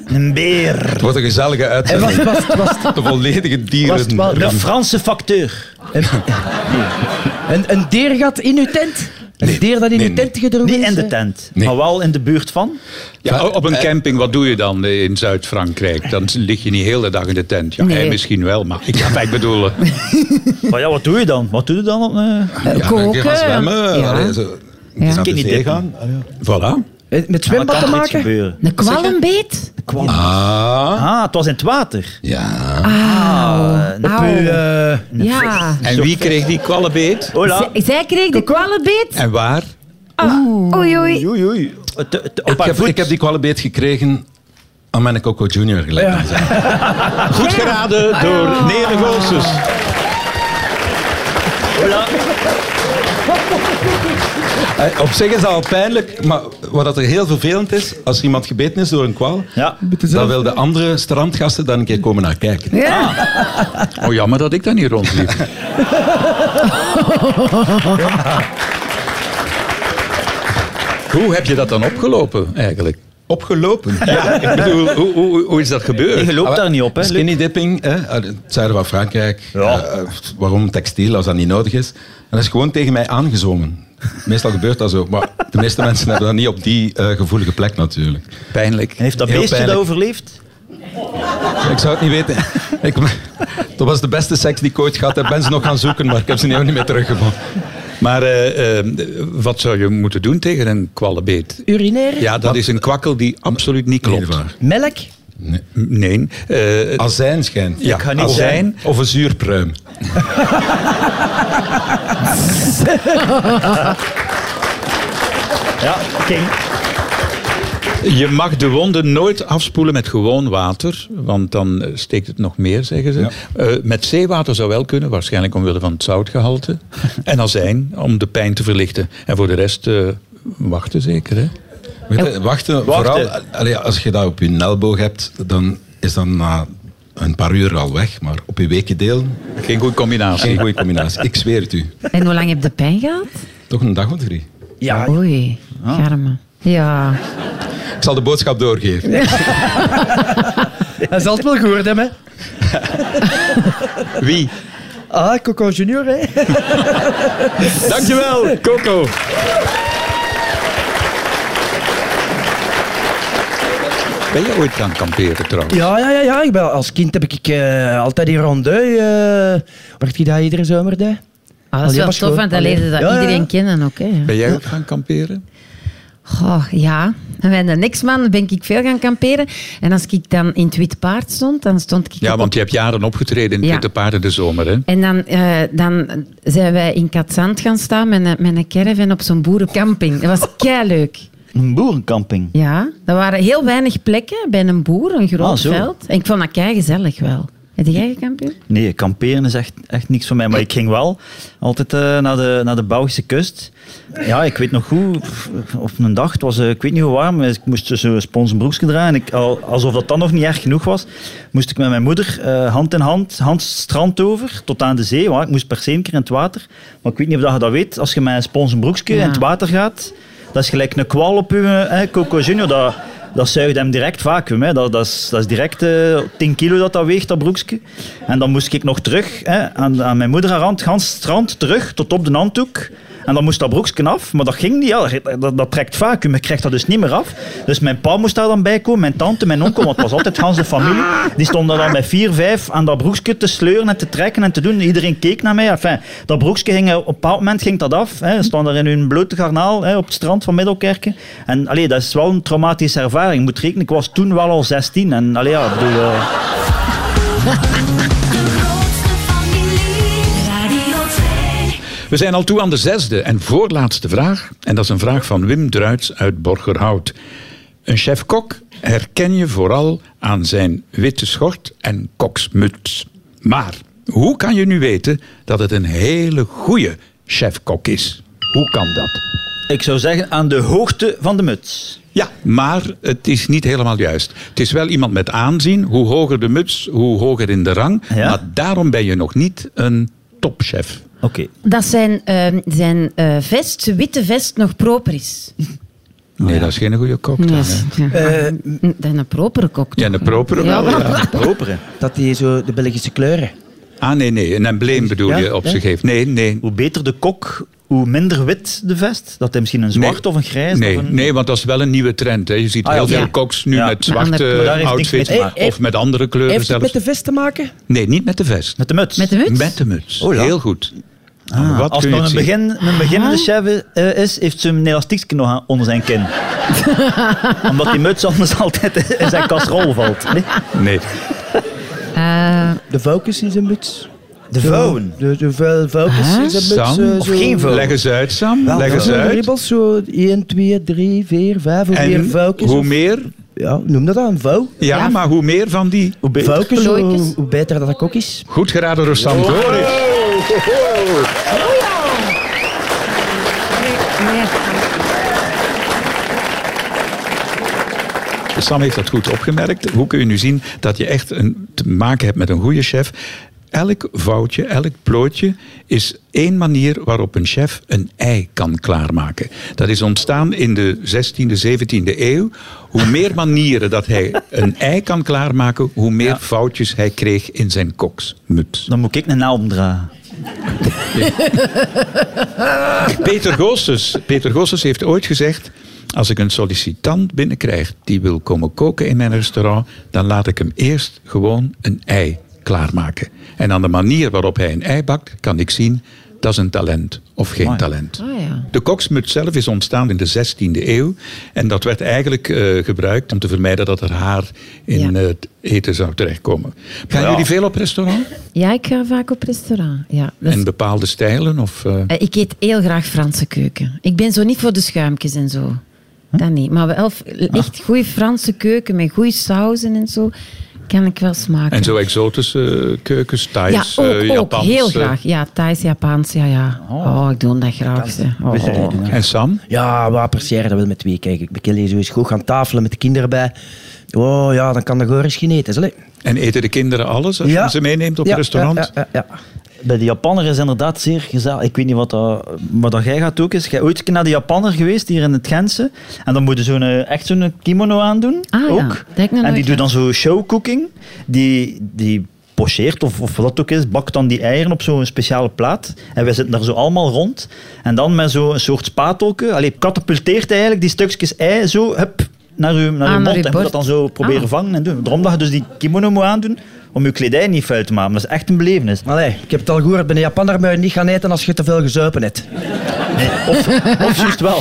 E: Een beer.
J: Het wordt een gezellige uitzending.
F: Was, was, was,
J: De volledige dieren.
F: Was het wel-
E: Een Franse facteur.
F: een, een, een deergat in uw tent? Een deer dat in
J: nee,
F: uw tent gedrongen
E: Niet
F: is?
E: in de
F: eh?
E: tent,
J: Nee.
E: maar wel in de buurt van.
C: Ja, op
E: eh,
C: een camping, wat doe je dan in Zuid-Frankrijk? Dan lig je niet de hele dag in de tent. Ja,
D: Nee.
C: hij misschien wel, maar ik ga het bedoelen.
E: Maar ja, wat doe je dan? Wat doe je dan? op, eh?
J: Ja, dan kun je
D: Koken.
J: gaan zwemmen.
D: Ja.
J: Allee, zo.
D: Ja.
J: Eens naar
E: Kan
J: de
E: niet
J: zee
E: dit
J: gaan.
C: Voilà.
F: Met
E: Maar
F: zwembad
E: kan
F: te
E: er iets
F: maken?
E: gebeuren.
D: Een kwallenbeet?
E: kwam.
I: Ah,
E: Ah, het was in het water.
I: ja.
E: Ah, eh,
D: Auw.
E: een
D: Ja.
C: En wie kreeg die kwallenbeet?
E: Hola.
D: Z- zij kreeg de kwallenbeet.
C: En waar?
D: Oei, oei.
E: Oei, oei. Het- het- Op
I: Ik
E: haar
I: heb,
E: voet.
I: ik heb die kwallenbeet gekregen aan mijn Coco Junior gelijk. aan zijn.
C: Goed geraden door Nele Goossens.
I: Eh, Op zich is dat al pijnlijk, maar wat dat er heel vervelend is, als er iemand gebeten is door een kwaal,
E: Ja.
I: dan wil de andere strandgasten dan een keer komen naar kijken.
C: Oh, jammer dat ik daar niet rondliep. Hoe heb je dat dan opgelopen, eigenlijk?
I: Opgelopen.
C: Ik bedoel, hoe, hoe, hoe is dat gebeurd? Ah,
E: Je
I: Ah,
E: loopt daar niet op, hè?
I: Skinny dipping, hè, uit het zuiden van Frankrijk.
E: Ja.
I: Eh, eh, waarom textiel als dat niet nodig is? En dat is gewoon tegen mij aangezongen. Meestal gebeurt dat zo, maar de meeste mensen hebben dat niet op die eh, gevoelige plek natuurlijk.
C: Pijnlijk.
E: En Heeft dat
I: Heel
E: beestje dat
I: pijnlijk.
E: overleefd?
I: Ik zou het niet weten. Ik, dat was de beste seks die ik ooit gehad heb. Ik ben ze nog gaan zoeken, maar ik heb ze nu ook niet meer teruggevonden.
C: Maar eh, eh, wat zou je moeten doen tegen een kwallenbeet?
F: Urineren?
C: Ja, dat is een kwakkel die absoluut niet klopt.
I: Nee, waar.
F: Melk?
C: Nee. eh,
I: Azijn schijnt.
C: ja,
E: ga niet
C: azijn.
I: Of een zuurpruim.
E: Ja, ging.
I: Ah.
C: Je mag de wonden nooit afspoelen met gewoon water, want dan eh, steekt het nog meer, zeggen ze.
I: Ja.
C: Eh, met zeewater zou wel kunnen, waarschijnlijk omwille van het zoutgehalte. en azijn, om de pijn te verlichten. En voor de rest eh, wachten zeker, hè?
I: Weet
E: Oh.
I: je, wachten, vooral
E: Wachten.
I: allee, als je dat op je elleboog hebt, dan is dat na een paar uur al weg. Maar op je weekendeel,
C: Geen goede combinatie.
I: geen goede combinatie. Ik zweer het u.
D: En hoe lang heb je pijn gehad?
I: Toch een dag of drie.
E: Ja,
F: Ah,
D: Oei, garme. Ja. Ah,
I: Ik zal de boodschap doorgeven.
F: Hij zal het wel gehoord hebben. hè.
C: Wie?
F: Ah, Coco Junior, hè?
C: Dankjewel, Coco. Ben je ooit gaan kamperen trouwens?
F: Ja, ja, ja. ja. Ik ben, als kind heb ik eh, altijd in Rondeuil... eh werd ik dat iedere zomer, hè?
D: Ah, dat
F: Allee,
D: is wel
F: pas
D: tof,
F: goed.
D: want dan
F: Allee.
D: leerde dat
F: Ja, ja, ja.
D: iedereen kennen ook. Hè.
C: Ben jij ook gaan kamperen?
D: Goh, ja. En bij de Nixman ben ik veel gaan kamperen. En als ik dan in het wit paard stond, dan stond ik...
C: Ja,
D: op-
C: want je hebt jaren opgetreden in het
D: Ja.
C: Witte Paarden de Zomer, hè?
D: En dan, eh, dan zijn wij in Katzand gaan staan met een, met een caravan op zo'n boerencamping. Dat was leuk.
E: een boerenkamping.
D: Ja, er waren heel weinig plekken bij een boer, een groot
E: Ah, zo.
D: veld. En ik vond dat gezellig wel. Heb jij gekampioen?
E: Nee, kamperen is echt, echt niks voor mij. Maar ik ging wel altijd eh, naar, de, naar de Belgische kust. Ja, ik weet nog goed, pff, op een dag, het was eh, ik weet niet hoe warm, ik moest dus een sponsen broekje dragen. En ik, al- alsof dat dan nog niet erg genoeg was, moest ik met mijn moeder eh, hand in hand, hand het strand over, tot aan de zee. Want ik moest per se een keer in het water. Maar ik weet niet of dat je dat weet, als je met een sponsen broekje
D: Ja.
E: in het water gaat, dat is gelijk een kwal op je eh, Coco Junior. Dat, dat zuigt hem direct vacuüm. Hè. Dat, dat, is, dat is direct eh 10 kilo dat dat weegt, dat broekje. En dan moest ik nog terug hè, aan, aan mijn moeder haar hand, gans strand, terug tot op de handdoek. En dan moest dat broekje af, maar dat ging niet. Ja, dat- dat, dat trekt vacuüm, ik krijg dat dus niet meer af. Dus mijn pa moest daar dan bij komen, mijn tante, mijn onkel, want het was altijd gans de familie. Die stonden dan met vier, vijf aan dat broekje te sleuren en te trekken en te doen. Iedereen keek naar mij. Enfin, dat broekje ging, eh, op een bepaald moment ging dat af. Hè. Ze stonden daar in hun blote garnaal hè, op het strand van Middelkerken. En allee, dat is wel een traumatische ervaring. Ik moet rekenen, ik was toen wel al 16. En allee, ja, ik bedoel, eh,
A: De grootste familie. Radio 2.
C: We zijn al toe aan de zesde en voorlaatste vraag. En dat is een vraag van Wim Druits uit Borgerhout. Een chef-kok herken je vooral aan zijn witte schort en koksmuts. Maar hoe kan je nu weten dat het een hele goede chef-kok is? Hoe kan dat?
E: ik zou zeggen aan de hoogte van de muts.
C: Ja, maar het is niet helemaal juist. Het is wel iemand met aanzien. Hoe hoger de muts, hoe hoger in de rang.
E: Ja.
C: Maar daarom ben je nog niet een topchef.
E: Oké.
D: Dat zijn, ehm, zijn eh, vest, zijn witte vest, nog proper is.
C: Nee, dat is geen goede kok. dan,
D: Ja.
C: hè.
D: Eh, dat is een propere kok.
C: Ja,
D: toch?
C: een propere wel,
D: maar-
C: ja.
E: Properen.
F: Dat die zo de Belgische kleuren.
C: Ah, nee, nee. Een embleem bedoel
F: Ja,
C: je op
F: ja.
C: zich heeft. Nee, nee.
E: Hoe beter de kok, hoe minder wit de vest. Dat hij misschien een zwart
C: Nee.
E: of een grijs
C: Nee,
E: of een...
C: nee, want dat is wel een nieuwe trend. Hè. Je ziet
E: Ah, ja,
C: heel
E: oké.
C: veel
E: Ja.
C: koks nu
E: Ja.
C: met
D: Met andere
C: zwarte
D: kleuren.
E: Maar daar heeft niks
C: outfits.
E: mee te maken.
C: Of met andere kleuren
F: Heeft het
C: zelfs.
F: met de vest te maken?
C: Nee, niet met de vest.
E: Met de muts.
D: Met de muts?
C: Met de muts.
E: Oh, ja.
C: Heel goed. Aan wat
E: Als
C: kun
E: het
C: je
E: nog
C: het
E: een,
C: zien?
E: begin, een beginnende chef is, eh, is, heeft ze een elastiekje nog aan- onder zijn kin. Omdat die muts anders altijd in zijn kastrol valt. Nee?
C: Nee.
F: De focus is een muts.
E: De vouwen.
F: De, de vuil focus
D: Huh?
F: is een muts.
C: Sam,
F: eh, zo.
E: Of geen vouw.
C: leg eens uit, Sam.
F: Wel,
C: leg
F: dat
C: eens
F: zijn de
C: uit.
F: ribbels, zo 1, 2, 3, 4, 5, hoe meer
C: En
F: vuiltjes.
C: hoe
F: of-
C: meer,
F: Ja, noem dat dan, vuil.
C: ja,
D: Ja.
C: maar hoe meer van die
F: Hoe beter,
D: Plooitjes.
F: hoe, hoe beter dat dat ook is.
C: goed geraden door Sam Goris.
D: Ah,
C: Sam heeft dat goed opgemerkt. Hoe kun je nu zien dat je echt een, te maken hebt met een goede chef? Elk foutje, elk plootje is één manier waarop een chef een ei kan klaarmaken. Dat is ontstaan in de 16e, 17e eeuw. Hoe meer manieren dat hij een ei kan klaarmaken, hoe meer foutjes hij kreeg in zijn koksmuts.
E: Dan moet ik een naam dragen.
C: Peter Goossens, Peter Goossens heeft ooit gezegd... als ik een sollicitant binnenkrijg die wil komen koken in mijn restaurant... dan laat ik hem eerst gewoon een ei klaarmaken. En aan de manier waarop hij een ei bakt, kan ik zien... dat is een talent of geen
E: Amai.
C: talent.
D: Ah, ja.
C: De koksmuts zelf is ontstaan in de 16e eeuw. En dat werd eigenlijk eh, gebruikt om te vermijden dat er haar in
D: Ja.
C: het eten zou terechtkomen. Gaan
E: Ja.
C: jullie veel op restaurant?
D: Ja, ik ga vaak op restaurant. Ja, dat is-
C: En bepaalde stijlen? Of, eh,
D: Eh, ik eet heel graag Franse keuken. Ik ben zo niet voor de schuimpjes en zo. Dat niet. Maar wel f- echt goede Franse keuken met goede sauzen en zo kan ik wel smaken.
C: En zo exotische eh, keukens,
D: ja,
C: Thais,
D: ook,
C: eh,
D: ook.
C: Japans.
D: heel
C: eh.
D: graag. Ja, Thais, Japans, ja, ja. Oh, ik doe dat graag. zeg. Oh,
F: We zijn-
D: oh.
C: eh, En Sam?
F: Ja, wat appreciëren dat wel met twee. Kijk, ik bekil hier zo eens goed aan tafelen met de kinderen bij. Oh ja, dan kan de goris geen eten. zal ik?
C: En eten de kinderen alles als je ze meeneemt op
F: Ja,
C: een restaurant?
F: Ja, ja, ja, ja.
E: Bij de Japanner is inderdaad zeer gezellig. Ik weet niet wat dat, wat dat jij gaat ook is. Jij ooit naar de Japanner geweest hier in het Gentse. En dan moet je zo'n, eh, echt zo'n kimono aandoen.
D: Ah ja, dat
E: ook.
D: heb ik nog
E: en die
D: nooit
E: doet dan zo showcooking. Die, die pocheert of, of wat ook is, bakt dan die eieren op zo'n speciale plaat. En wij zitten daar zo allemaal rond. En dan met zo'n soort spatelke. Allee, katapulteert eigenlijk die stukjes ei zo hup, naar uw, naar
D: Ah,
E: uw
D: naar
E: mond.
D: uw
E: en moet
D: bord.
E: dat dan zo proberen
D: Ah.
E: vangen en doen. Daarom dat je dus die kimono moet aandoen om je kledij niet vuil te maken. Dat is echt een belevenis.
F: Allee, ik heb het al gehoord, bij een Japaner moet je niet gaan eten als je te veel gezuipen hebt.
E: Of juist wel.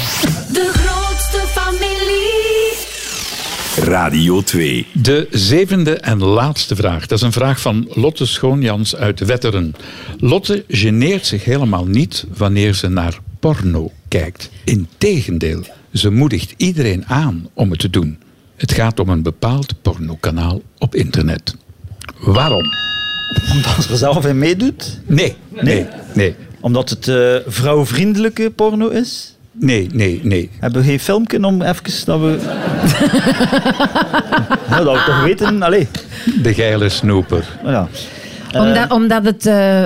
A: De grootste familie.
B: Radio 2.
C: De zevende en laatste vraag. Dat is een vraag van Lotte Schoonjans uit Wetteren. Lotte geneert zich helemaal niet wanneer ze naar porno kijkt. Integendeel, ze moedigt iedereen aan om het te doen. Het gaat om een bepaald pornokanaal op internet. Waarom?
E: Omdat ze er zelf in meedoet.
C: Nee, nee, nee.
E: Omdat het eh, vrouwvriendelijke porno is.
C: Nee, nee, nee.
E: Hebben we geen filmpje om even dat we... nou, dat we toch weten. Allee.
C: De geile snoeper.
E: Nou Ja.
D: Omdat, omdat het eh,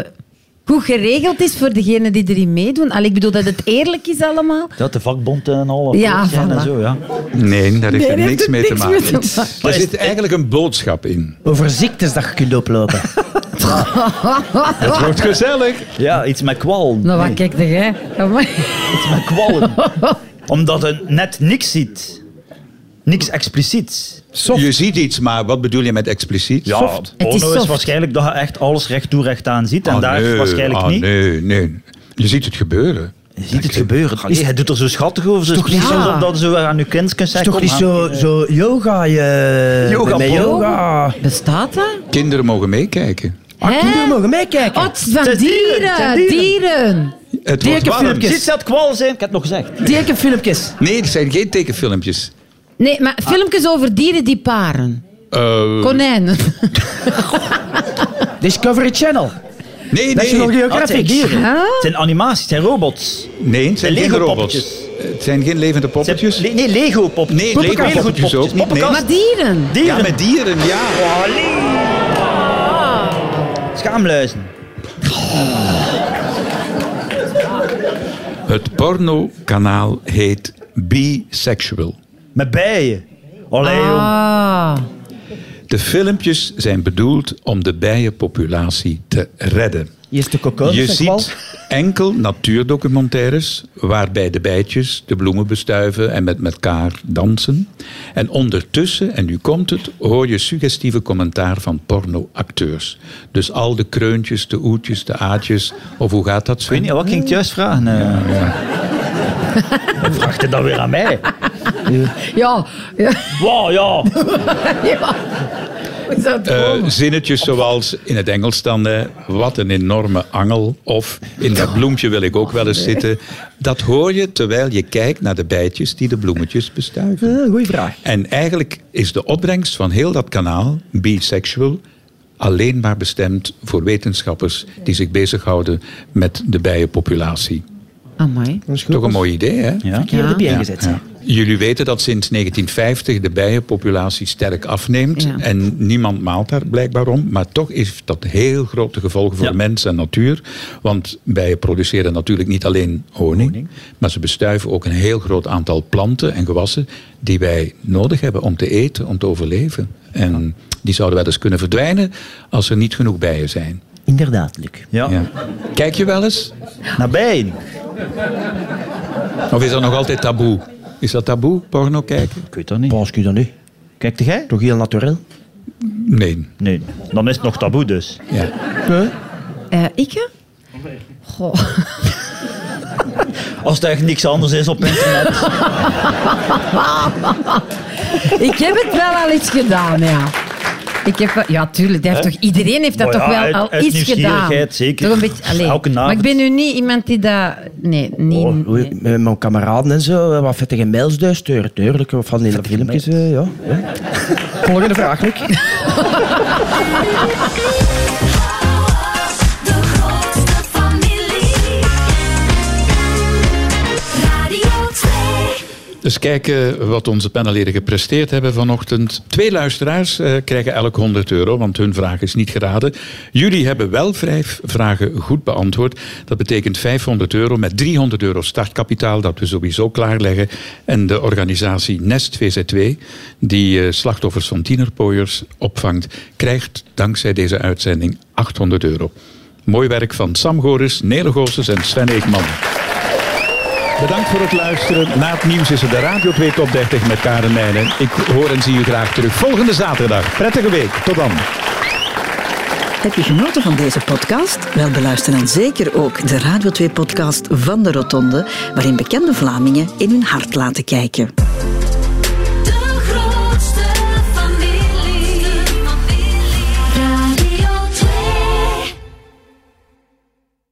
D: goed geregeld is voor degenen die erin meedoen. Al, ik bedoel dat het eerlijk is allemaal.
E: Dat de vakbond en al.
D: Ja,
E: akkoord zijn
D: voilà.
E: en zo, ja.
C: Nee, daar heeft er
D: Nee, daar
C: niks
D: heeft
C: mee
D: het
C: te
D: niks
C: maken.
D: mee te maken.
C: Er zit eigenlijk een boodschap in.
F: Over ziektes dat je kunt oplopen.
C: Het wordt gezellig.
E: ja, iets met kwal.
D: Nou, wat kijk jij? Amai.
E: Iets met kwallen. Omdat je net niks ziet. Niks expliciet.
C: Je ziet iets, maar wat bedoel je met expliciet?
E: Soft.
D: Het
E: porno
D: is
E: is,
D: soft.
E: waarschijnlijk dat je echt alles recht toe recht aan ziet. En
C: Ah,
E: daar
C: nee,
E: waarschijnlijk
C: ah,
E: niet.
C: Nee, nee. Je ziet het gebeuren.
E: Je ziet het gebeuren. Allee, hij doet er zo schattig over. Zo
F: toch niet
E: speciaal
D: zo-
E: dat ze weer aan je kind kunt
F: is
E: zeggen.
F: toch
E: kom
F: niet
E: aan.
F: zo, zo yoga, je...
E: Yoga
F: met
E: porno?
F: yoga.
D: Bestaat dat?
C: Kinderen mogen meekijken.
F: Ah,
D: Hè?
F: kinderen mogen meekijken.
D: Wat van
E: Het is dieren,
D: dieren,
E: het is
D: dieren.
C: Het wordt
F: Tekenfilmpjes.
C: warm.
E: Ziet dat kwal zijn? Ik heb het nog gezegd.
F: Tekenfilmpjes.
C: Nee, het zijn geen tekenfilmpjes.
D: Nee, maar filmpjes over dieren die paren.
C: Eh,
D: Konijnen.
F: Discovery Channel.
C: nee, nee.
F: National
E: Ah, het zijn
F: Geographic.
E: dieren.
D: Huh?
E: Het zijn animaties, het zijn robots.
C: Nee, het zijn
E: De
C: geen robots.
E: Lego-poppetjes.
C: Het zijn geen levende
E: Het
C: poppetjes.
E: zijn, nee, Lego-poppetjes.
C: Nee, Lego-poppetjes ook niet. Nee.
D: Maar dieren.
E: Dieren.
C: Ja, met dieren, ja.
E: Schaamluizen.
C: Het pornokanaal heet Bisexual.
E: Met bijen. Allee, jong.
D: Ah.
C: De filmpjes zijn bedoeld om de bijenpopulatie te redden.
F: Hier is de cocoon.
C: Je
F: zeg wel.
C: ziet enkel natuurdocumentaires waarbij de bijtjes de bloemen bestuiven en met elkaar dansen. En ondertussen, en nu komt het, hoor je suggestieve commentaar van pornoacteurs. Dus al de kreuntjes, de oetjes, de aatjes, of hoe gaat dat,
E: Ik weet
C: Sven?
E: niet, wat ging ik juist vragen? eh? Dan Vraagt het dan weer aan mij?
D: Ja. ja.
E: Wow, ja.
D: ja. Hoe is dat
C: Eh,
D: komen?
C: zinnetjes zoals in het Engels dan, eh, wat een enorme angel, of in dat bloempje wil ik ook wel eens zitten. Dat hoor je terwijl je kijkt naar de bijtjes die de bloemetjes bestuiven.
F: Eh, Goeie vraag.
C: En eigenlijk is de opbrengst van heel dat kanaal, Bisexual, alleen maar bestemd voor wetenschappers die zich bezighouden met de bijenpopulatie.
D: Amai.
F: Dat is goed.
C: Toch een mooi idee, hè?
E: Ja.
F: Hier heb je
D: Ja.
F: ingezet.
C: Ja. Jullie weten dat sinds 1950 de bijenpopulatie sterk afneemt.
D: Ja.
C: En niemand maalt daar blijkbaar om. Maar toch heeft dat heel grote gevolgen voor
E: Ja.
C: mens en natuur. Want bijen produceren natuurlijk niet alleen honing, Maar ze bestuiven ook een heel groot aantal planten en gewassen. die wij nodig hebben om te eten, om te overleven. En die zouden wel eens kunnen verdwijnen als er niet genoeg bijen zijn.
F: Inderdaad, Luc.
E: ja.
C: Ja. Kijk je wel eens?
E: Naar bijen.
C: Of is dat nog altijd taboe? Is dat taboe, porno kijken?
E: Ik weet dat niet.
F: Pas je dan nu?
E: Kijkt jij?
F: Toch heel natuurlijk.
C: Nee.
E: Nee, dan is het nog taboe dus.
C: Ja.
D: Eh, ikke? Goh.
E: Als het echt niks anders is op internet.
D: Ik heb het wel al iets gedaan, ja. Ik heb, wel- ja, tuurlijk. dat heeft toch, iedereen heeft dat
E: Maar
D: toch
E: ja,
D: wel
E: uit-
D: al
E: uit
D: iets gedaan.
E: nieuwsgierigheid, zeker.
D: Toch een beetje, allee.
E: Elke nacht.
D: Maar ik ben nu niet iemand die dat... Nee, niet...
F: Oh, oei,
D: nee.
F: Met mijn kameraden en zo, eh, wat vettige mails dus sturen, tuurlijk. Of van die filmpjes, eh, ja. ja. Volgende vraag, Luc.
A: De grootste familie. Radio 2.
C: Dus kijken wat onze panelleden gepresteerd hebben vanochtend. Twee luisteraars eh, krijgen elk 100 euro, want hun vraag is niet geraden. Jullie hebben wel vijf vragen goed beantwoord. Dat betekent 500 euro met 300 euro startkapitaal, dat we sowieso klaarleggen. En de organisatie Nest VZW, die eh, slachtoffers van tienerpooiers opvangt, krijgt dankzij deze uitzending 800 euro. Mooi werk van Sam Goris, Nele Goossens en Sven Eekman. Bedankt voor het luisteren. Na het nieuws is er de Radio 2 Top 30 met Karen Meijnen. Ik hoor en zie u graag terug volgende zaterdag. Prettige week. Tot dan.
K: Heb je genoten van deze podcast? Wel, beluister dan zeker ook de Radio 2-podcast van de Rotonde, waarin bekende Vlamingen in hun hart laten kijken.